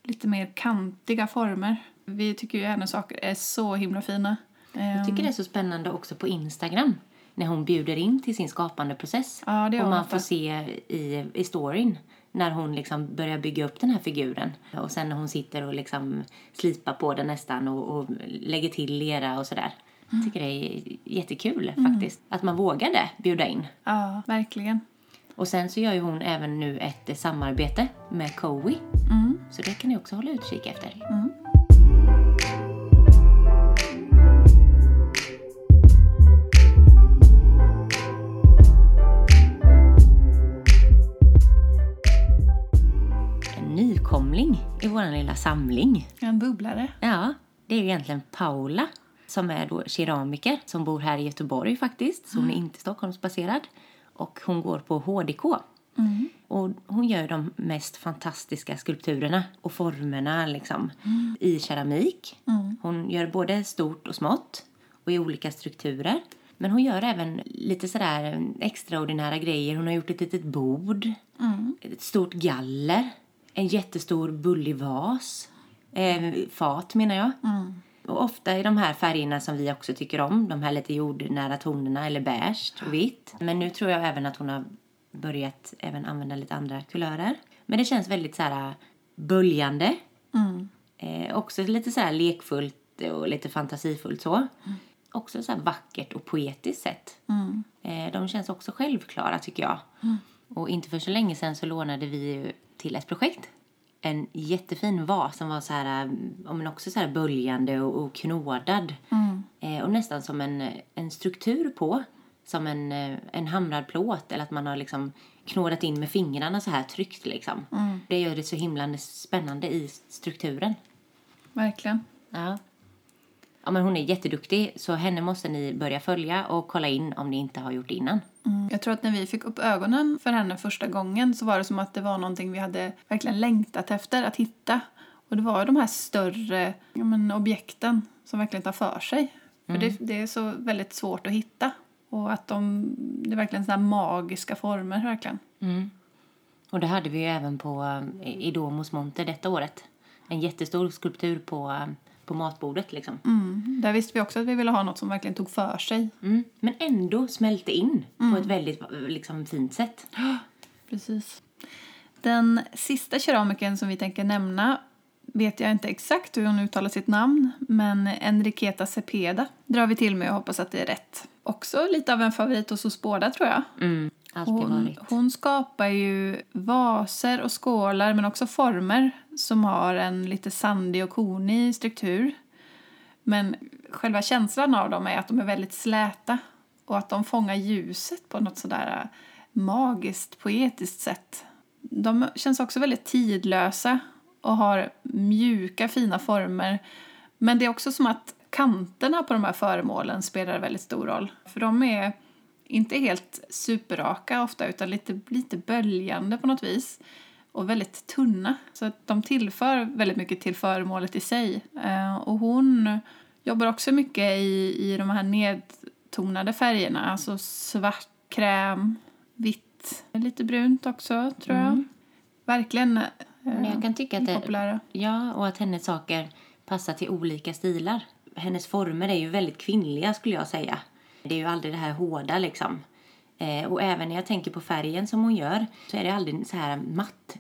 lite mer kantiga former. Vi tycker ju hennes saker är så himla fina. Eh,
Jag tycker det är så spännande också på Instagram. När hon bjuder in till sin skapande process.
Ja, det gör
och
hon
man
ofta.
får se i, i storyn när hon liksom börjar bygga upp den här figuren. Och sen när hon sitter och liksom slipar på den nästan och, och lägger till lera och sådär. Jag tycker det är jättekul
Mm.
faktiskt. Att man vågade bjuda in.
ja, verkligen.
Och sen så gör ju hon även nu ett eh, samarbete med Cowi. Så det kan ni också hålla utkik efter. vår lilla samling.
En bubblare.
Ja, det är ju egentligen Paula som är då keramiker som bor här i Göteborg faktiskt. Så hon är inte Stockholmsbaserad. Och hon går på HDK. Och hon gör de mest fantastiska skulpturerna och formerna liksom i keramik. Hon gör både stort och smått och i olika strukturer. Men hon gör även lite sådär eh, extraordinära grejer. Hon har gjort ett litet bord, ett stort galler, en jättestor bullig vas. Eh, fat menar jag. Och ofta i de här färgerna som vi också tycker om, de här lite jordnära tonerna eller beige och vitt. Men nu tror jag även att hon har börjat även använda lite andra kulörer. Men det känns väldigt så här eh, böljande. Eh, också lite så här lekfullt och lite fantasifullt så. Också så här vackert och poetiskt sett. Eh, de känns också självklara tycker jag. Och inte för så länge sedan så lånade vi ju till ett projekt. En jättefin vas som var så här, eh, ja, men också så här böljande och, och knådad. Eh, och nästan som en, en struktur på. Som en, eh, en hamrad plåt eller att man har liksom knådat in med fingrarna så här tryckt liksom. Det gör det så himla spännande i strukturen.
Verkligen.
Ja. Ja, men hon är jätteduktig, så henne måste ni börja följa och kolla in om ni inte har gjort det innan.
Mm. Jag tror att när vi fick upp ögonen för henne första gången så var det som att det var någonting vi hade verkligen längtat efter att hitta. Och det var ju de här större ja, men, objekten som verkligen tar för sig. För
Mm.
det, det är så väldigt svårt att hitta. Och att de, det är verkligen sådana magiska former verkligen.
Och det hade vi ju även på eh, i Domos monter detta året. En jättestor skulptur på, eh, på matbordet liksom.
Mm. Där visste vi också att vi ville ha något som verkligen tog för sig.
Mm. Men ändå smälte in på
Mm.
ett väldigt eh, liksom, fint sätt.
Precis. Den sista keramiken som vi tänker nämna vet jag inte exakt hur hon uttalar sitt namn, men Enriqueta Cepeda drar vi till med och hoppas att det är rätt. Också lite av en favorit hos oss båda tror jag.
Mm. Alltid
Hon,
varit.
hon skapar ju vaser och skålar men också former som har en lite sandig och konig struktur. Men själva känslan av dem är att de är väldigt släta och att de fångar ljuset på något sådär äh, magiskt, poetiskt sätt. De känns också väldigt tidlösa och har mjuka, fina former. Men det är också som att kanterna på de här föremålen spelar väldigt stor roll. För de är inte helt superraka ofta utan lite, lite böljande på något vis och väldigt tunna. Så att de tillför väldigt mycket till föremålet i sig. Eh, och hon jobbar också mycket i, i de här nedtonade färgerna, alltså svart, kräm, vitt, lite brunt också tror jag. Verkligen eh,
Mm. Men jag kan tycka att det,
populära.
Ja, och att hennes saker passar till olika stilar. Hennes former är ju väldigt kvinnliga skulle jag säga. Det är ju aldrig det här hårda liksom. Eh, och även när jag tänker på färgen som hon gör så är det aldrig så här matt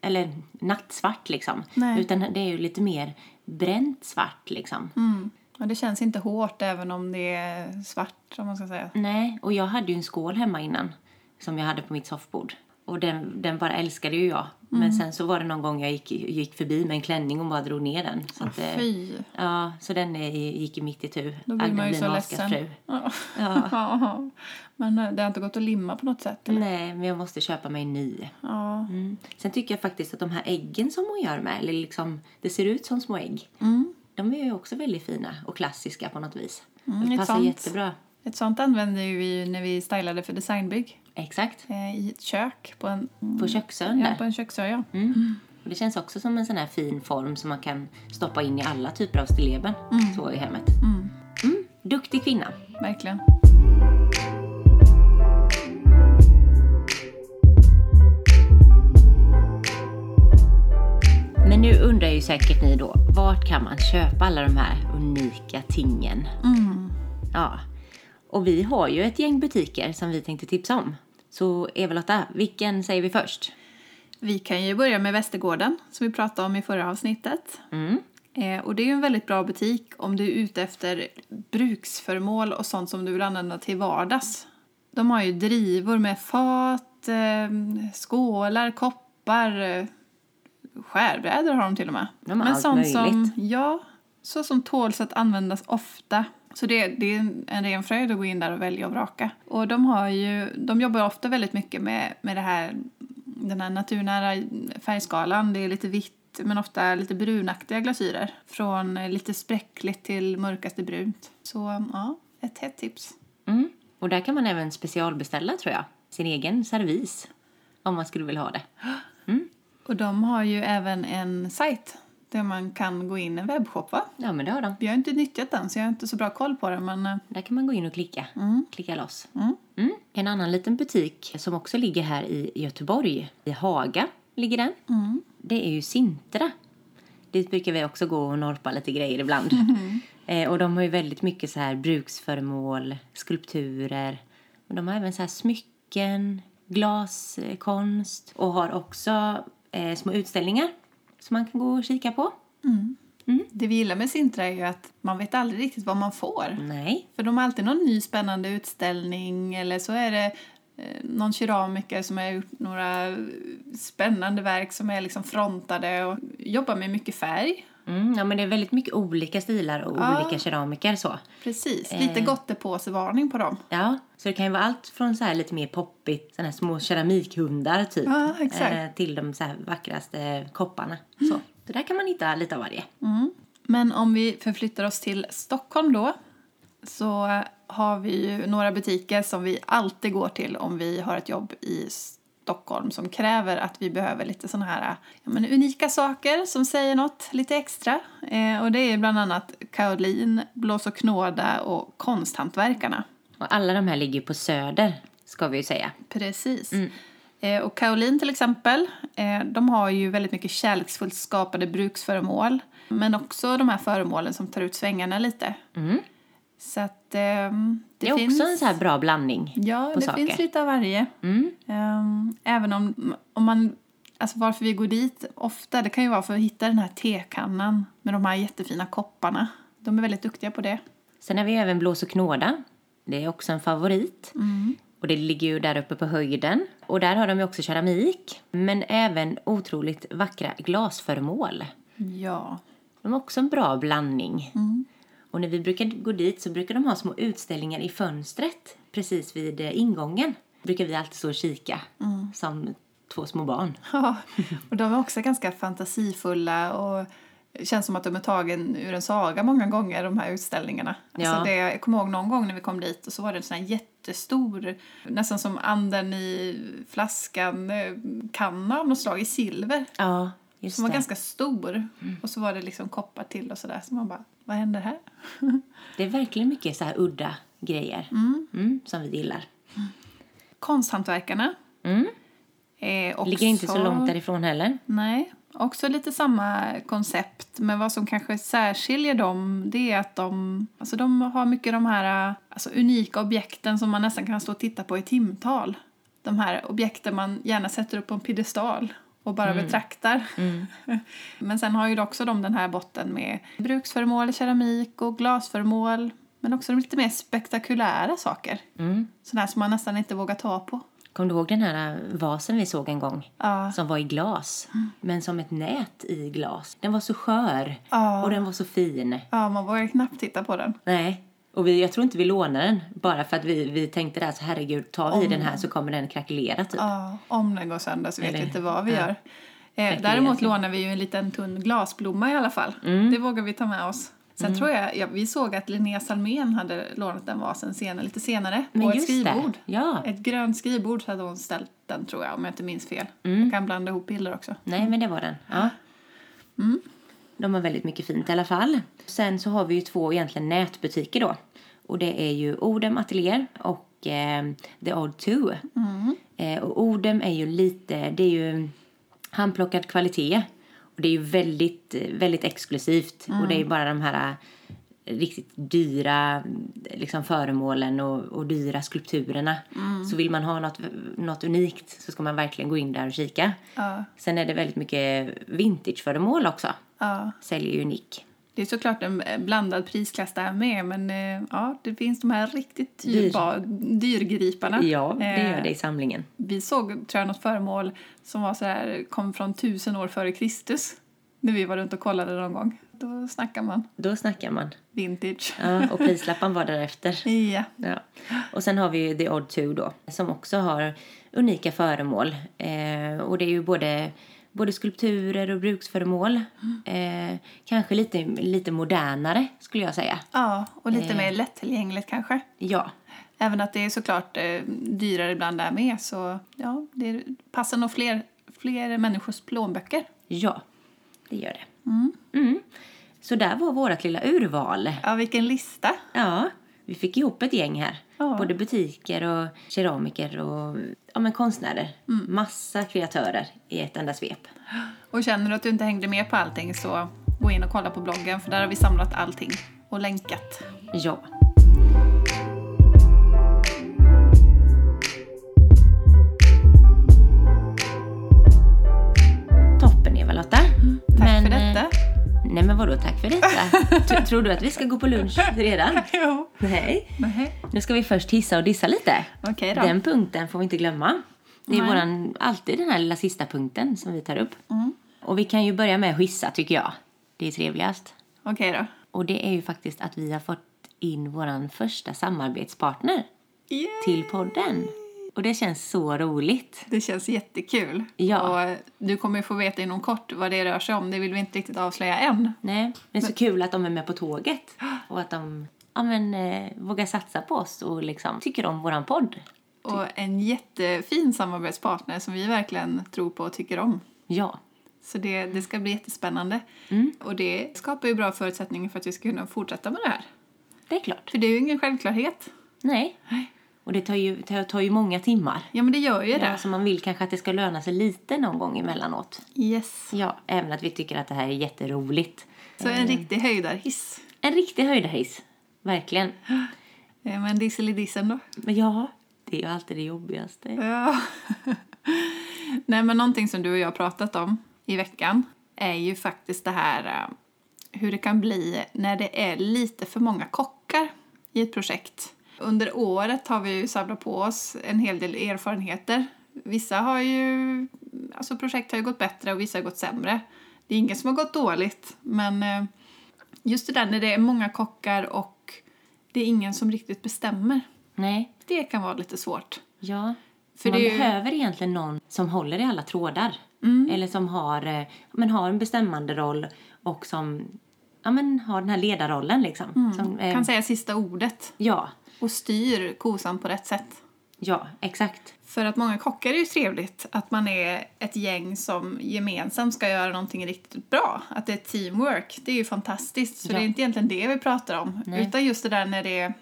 eller nattsvart liksom.
Nej.
Utan det är ju lite mer bränt svart liksom.
Mm. Och det känns inte hårt även om det är svart om man ska säga.
Nej, och jag hade ju en skål hemma innan som jag hade på mitt soffbord. Och den, den bara älskade ju jag.
Mm.
Men sen så var det någon gång jag gick, gick förbi med en klänning och bara drog ner den. Så att, eh,
Fy,
Ja, så den är, gick i mitt itu.
då blir man ju så ledsen. Ja. Ja. Men eh, det har inte gått att limma på något sätt? Eller?
Nej, men jag måste köpa mig en ny.
Ja.
Mm. Sen tycker jag faktiskt att de här äggen som hon gör med, eller liksom, det ser ut som små ägg.
Mm.
De är ju också väldigt fina och klassiska på något vis.
ett
det passar
sånt.
jättebra.
Ett sånt använde ju vi när vi stylade för designbygg
Exakt.
eh, i ett kök på en,
På köksön
ja, på
där.
en köksö. Ja.
Och det känns också som en sån här fin form som man kan stoppa in i alla typer av stilleben. Så i hemmet. Mm. Duktig kvinna.
Verkligen.
Men nu undrar ju säkert ni då, vart kan man köpa alla de här unika tingen? Mm. Ja. Och vi har ju ett gäng butiker som vi tänkte tipsa om. Så Eva-Lotta, vilken säger vi först?
Vi kan ju börja med Västergården som vi pratade om i förra avsnittet. Eh, och det är ju en väldigt bra butik om du är ute efter bruksföremål och sånt som du vill använda till vardags. De har ju drivor med fat, eh, skålar, koppar, eh, skärbrädor har de till och med.
De har allt
som,
möjligt.
ja, så som tåls att användas ofta. Så det, det är en- en ren fröjd att gå in där och välja och vraka. Och de, har ju, de jobbar ofta väldigt mycket med, med det här, den här naturnära färgskalan. Det är lite vitt men ofta lite brunaktiga glasyrer. Från eh, lite spräckligt till mörkaste brunt. Så ja, ett hett tips.
Mm. Och där kan man även specialbeställa tror jag. Sin egen servis. Om man skulle vilja ha det.
Och de har ju även en sajt där man kan gå in, en webbshop va?
Ja men det har de.
Jag har inte nyttjat den så jag har inte så bra koll på den men eh,
Där kan man gå in och klicka. Klicka loss.
Mm.
Mm. En annan liten butik som också ligger här i Göteborg, i Haga, ligger den.
Mm.
Det är ju Sintra. Dit brukar vi också gå och norpa lite grejer ibland.
Mm-hmm.
Eh, och de har ju väldigt mycket så här bruksföremål, skulpturer. Men de har även så här smycken, glaskonst och har också eh, små utställningar som man kan gå och kika på.
det vi gillar med Sintra är ju att man vet aldrig riktigt vad man får.
Nej,
För de har alltid någon ny spännande utställning eller så är det eh, någon keramiker som har gjort några eh, spännande verk som är liksom frontade och jobbar med mycket färg.
Mm, ja, men det är väldigt mycket olika stilar och
Ja.
olika keramiker så.
Precis, lite gottepåsevarning på dem.
Ja, så det kan ju vara allt från så här lite mer poppigt, såna här små keramikhundar typ.
Ja, exakt. Mm.
eh, Till de så här vackraste kopparna. Så. så där kan man hitta lite av varje.
Men om vi förflyttar oss till Stockholm då så har vi ju några butiker som vi alltid går till om vi har ett jobb i Stockholm som kräver att vi behöver lite såna här ja, men unika saker som säger något lite extra. Eh, och det är bland annat Kaolin, Blås och knåda och Konsthantverkarna.
Och alla de här ligger ju på söder, ska vi ju säga.
Precis.
Mm.
Eh, och Caroline till exempel, eh, de har ju väldigt mycket kärleksfullt skapade bruksföremål. Men också de här föremålen som tar ut svängarna lite. Så att ehm, det,
Mm. Det, är
finns...
också en så här bra blandning
ja,
på
det
saker. Mm.
finns lite av varje. Ehm, även om, om man... Alltså varför vi går dit ofta, det kan ju vara för att hitta den här tekannan med de här jättefina kopparna. De är väldigt duktiga på det.
Sen har vi ju även Blås och knåda. Det är också en favorit.
Mm.
Och det ligger ju där uppe på höjden. Och där har de ju också keramik. Men även otroligt vackra glasföremål.
Ja.
De har också en bra blandning.
Mm.
Och när vi brukar gå dit så brukar de ha små utställningar i fönstret precis vid eh, ingången. brukar vi alltid stå och kika som två små barn.
Mm. Ja, och de är också ganska fantasifulla och det känns som att de är tagen ur en saga många gånger, de här utställningarna.
Ja.
Alltså det, jag kommer ihåg någon gång när vi kom dit och så var det en sån här jättestor, nästan som anden i flaskan, eh, kanna av något slag i silver.
Ja, just
Som var
det. Mm.
ganska stor. Och så var det liksom koppar till och sådär. Så man bara, vad händer här?
Det är verkligen mycket så här udda grejer Mm, som vi gillar.
Konsthantverkarna.
Mm.
Är också...
Ligger inte så långt därifrån heller.
Nej, också lite samma koncept. Men vad som kanske särskiljer dem det är att de, alltså de har mycket de här eh, alltså unika objekten som man nästan kan stå och titta på i timtal. De här objekten man gärna sätter upp på en piedestal och bara betraktar. men sen har ju också de den här botten med bruksföremål, keramik och glasföremål. Men också de lite mer spektakulära saker. Mm. Sådana här som man nästan inte vågar ta på.
Kommer du ihåg den här eh, vasen vi såg en gång?
Ja. Mm.
Som var i glas, men som ett nät i glas. Den var så skör
Ja.
och den var så fin.
Ja, man vågar knappt titta på den.
Nej, och vi, jag tror inte vi lånade den bara för att vi, vi tänkte där så herregud, tar vi den här så kommer den krackelera typ.
Ja, om den går sönder så vet
Eller-
vi inte vad vi
ja.
gör. Eh,
Verkligen.
däremot lånar vi ju en liten tunn glasblomma i alla fall.
Mm.
Det vågar vi ta med oss. Sen tror jag, ja, vi såg att Linnea Salmén hade lånat den vasen senare, lite senare
Men
på ett
just det,
skrivbord.
ja.
Ett grönt skrivbord så hade hon ställt den tror jag, om jag inte minns fel.
Mm.
Jag kan blanda ihop bilder också.
Nej, men det var den. Ja. De har väldigt mycket fint i alla fall. Sen så har vi ju två egentligen nätbutiker då. Och det är ju Odem Atelier och eh, The Odd Two. Eh, och Odem är ju lite, det är ju handplockad kvalitet. Och det är ju väldigt, eh, väldigt exklusivt. Och det är ju bara de här eh, riktigt dyra eh, liksom, föremålen och, och dyra skulpturerna. Så vill man ha något, något unikt så ska man verkligen gå in där och kika.
Ja.
Sen är det väldigt mycket vintageföremål också.
Ja.
Säljer ju Nick.
Det är såklart en eh, blandad prisklass där med, men eh, ja, det finns de här riktigt
Dyr.
dyrba, dyrgriparna.
Ja, det
Eh,
gör det i samlingen.
Vi såg, tror jag, något föremål som var så här, kom från tusen år före Kristus. När vi var runt och kollade någon gång. Då snackar man
Då snackar man.
vintage.
Ja, och prislappen var därefter.
Ja.
Ja. Och sen har vi ju The Odd Two då, som också har unika föremål. Eh, och det är ju både både skulpturer och bruksföremål. Eh, kanske lite, lite modernare skulle jag säga.
Ja, och
Eh.
lite mer lättillgängligt kanske.
Ja,
Även att det är såklart eh, dyrare ibland där med så ja, det passar nog fler, fler människors plånböcker.
ja, det gör det. Mm. Så där var vårt lilla urval.
Ja, vilken lista!
Ja, vi fick ihop ett gäng här.
Ja.
Både butiker och keramiker och ja, men konstnärer.
Mm.
Massa kreatörer i ett enda svep.
Och känner du att du inte hängde med på allting så gå in och kolla på bloggen för där har vi samlat allting och länkat.
Ja. Toppen Eva-Lotta.
Mm, Tack för
eh,
detta!
Nej men vadå tack för detta? T- Tror du att vi ska gå på lunch redan?
jo.
Nej.
Nej.
Nu ska vi först hissa och dissa lite.
Okej då.
Den punkten får vi inte glömma. Det är
Nej.
våran, alltid den här lilla sista punkten som vi tar upp.
Mm.
Och vi kan ju börja med att hissa tycker jag. Det är trevligast.
Okej då.
Och det är ju faktiskt att vi har fått in våran första samarbetspartner
Yay!
till podden. Och det känns så roligt.
Det känns jättekul.
Ja.
Och eh, du kommer ju få veta inom kort vad det rör sig om. Det vill vi inte riktigt avslöja än.
Nej, det är så kul att de är med på tåget. Och att de ja, men, eh, vågar satsa på oss och liksom tycker om våran podd.
Och
Typ.
en jättefin samarbetspartner som vi verkligen tror på och tycker om.
Ja,
Så det, det ska bli jättespännande.
Mm.
Och det skapar ju bra förutsättningar för att vi ska kunna fortsätta med det här.
det är klart.
För det är ju ingen självklarhet.
Nej.
Nej.
Och det tar ju, tar, tar ju många timmar.
Ja, men det gör ju
Ja,
det.
så Alltså, man vill kanske att det ska löna sig lite någon gång emellanåt.
Yes.
Ja, även att vi tycker att det här är jätteroligt.
Så en riktig höjdarhiss.
En riktig höjdarhiss. Verkligen.
Eh, Men disselidissen då?
Men ja, det är ju alltid det jobbigaste.
Ja. Nej, men någonting som du och jag har pratat om i veckan är ju faktiskt det här eh, hur det kan bli när det är lite för många kockar i ett projekt. Under året har vi ju samlat på oss en hel del erfarenheter. Vissa har ju, alltså projekt har ju gått bättre och vissa har gått sämre. Det är ingen som har gått dåligt, men eh, just det där när det är många kockar och det är ingen som riktigt bestämmer.
Nej,
Det kan vara lite svårt.
ja.
För
För man
det är ju-
behöver egentligen någon som håller i alla trådar. Eller som har, eh, men har en bestämmande roll och som ja, men har den här ledarrollen liksom. Som, eh,
kan säga sista ordet
ja,
och styr kosan på rätt sätt.
ja, exakt.
För att många kockar är ju trevligt att man är ett gäng som gemensamt ska göra någonting riktigt bra. Att det är teamwork, det är ju fantastiskt. Så
Ja.
det är inte egentligen det vi pratar om.
Nej.
Utan just det där när det,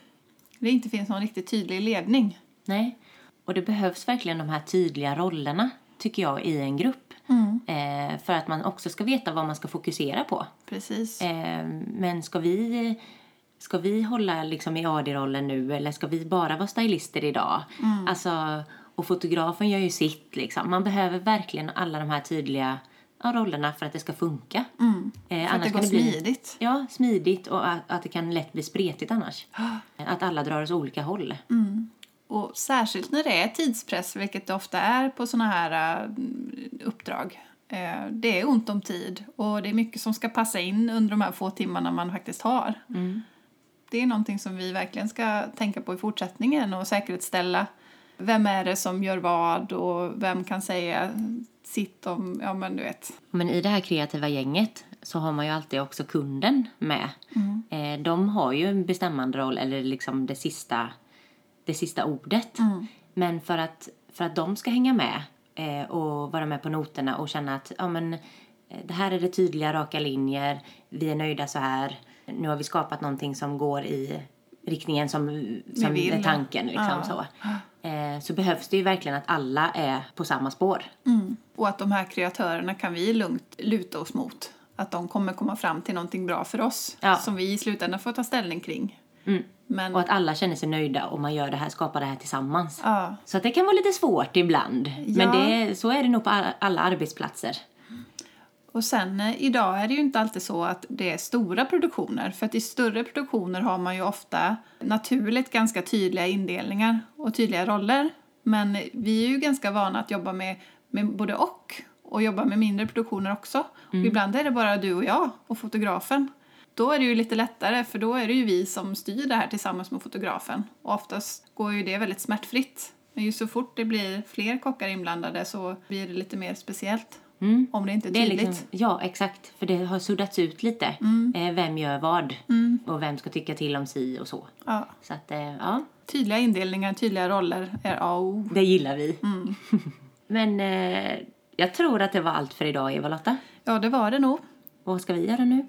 det inte finns någon riktigt tydlig
Eh,
ledning.
Nej. Och det behövs verkligen de här tydliga rollerna, tycker jag, i en grupp.
Mm.
Eh, för att man också ska veta vad man ska fokusera på.
Precis.
Eh, men ska vi, ska vi hålla liksom i AD-rollen nu eller ska vi bara vara stylister idag?
Mm.
Alltså, och fotografen gör ju sitt. Liksom. Man behöver verkligen alla de här tydliga ja, rollerna för att det ska funka. Eh,
Mm. För att det går
bli-
smidigt.
Ja, smidigt och att, att det kan lätt bli spretigt annars. Att alla drar åt olika håll.
Och särskilt när det är tidspress, vilket det ofta är på såna här eh, uppdrag. Eh, Det är ont om tid och det är mycket som ska passa in under de här få timmarna man faktiskt har. Det är någonting som vi verkligen ska tänka på i fortsättningen och säkerställa. Vem är det som gör vad och vem kan säga sitt om, ja men du vet.
Men i det här kreativa gänget så har man ju alltid också kunden med. Eh, de har ju en bestämmande roll, eller liksom det sista, det sista ordet. Men för att, för att de ska hänga med eh, och vara med på noterna och känna att ja, men, eh, det här är det tydliga, raka linjer, vi är nöjda så här. Nu har vi skapat någonting som går i riktningen som, som
vill.
är tanken. Liksom, så. Eh, så behövs det ju verkligen att alla är på samma spår.
Mm. Och att de här kreatörerna kan vi lugnt luta oss mot. Att de kommer komma fram till någonting bra för oss
Ja. Mm.
som vi i slutändan får ta ställning kring. Men
Och att alla känner sig nöjda och man gör det här, skapar det här tillsammans.
Ja.
Så att det kan vara lite svårt ibland.
Ja.
Men det, så är det nog på alla, alla arbetsplatser.
Och sen eh, idag är det ju inte alltid så att det är stora produktioner. För att i större produktioner har man ju ofta naturligt ganska tydliga indelningar och tydliga roller. Men eh, vi är ju ganska vana att jobba med, med både och och jobba med mindre produktioner också. Och ibland är det bara du och jag och fotografen. Då är det ju lite lättare för då är det ju vi som styr det här tillsammans med fotografen. Och oftast går ju det väldigt smärtfritt. Men ju så fort det blir fler kockar inblandade så blir det lite mer speciellt. Om det inte är
Det är
tydligt. Mm.
liksom, ja, exakt. För det har suddats ut lite. Eh, vem gör vad? Och vem ska tycka till om si och så.
ja.
Så att, eh, ja,
Tydliga indelningar, tydliga roller är A och O.
det gillar vi.
Mm.
Men eh, jag tror att det var allt för idag, Eva-Lotta.
Ja, det var det nog.
Vad ska vi göra nu?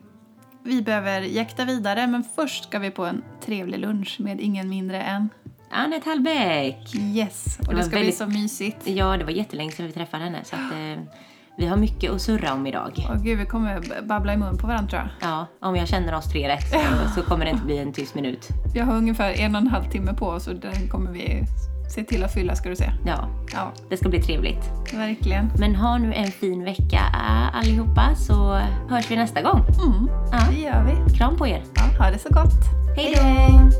Vi behöver jäkta vidare, men först ska vi på en trevlig lunch med ingen mindre än
Anette Hallbäck!
Yes! Och
var
det ska bli
väldigt-
så mysigt.
Ja, det var jättelänge sedan vi träffade henne. Så att, eh, vi har mycket att surra om idag.
Åh gud, vi kommer b- babbla i mun på varandra tror jag.
Ja, om jag känner oss tre rätt så, så kommer det inte bli en tyst minut.
Vi har ungefär en och en halv timme på oss och den kommer vi se till att fylla ska du se.
Ja,
Ja,
det ska bli trevligt.
verkligen.
Men ha nu en fin vecka eh, allihopa så hörs vi nästa gång.
Mm,
Ja.
det gör vi.
Kram på er!
Ja, ha det så gott.
Hej då!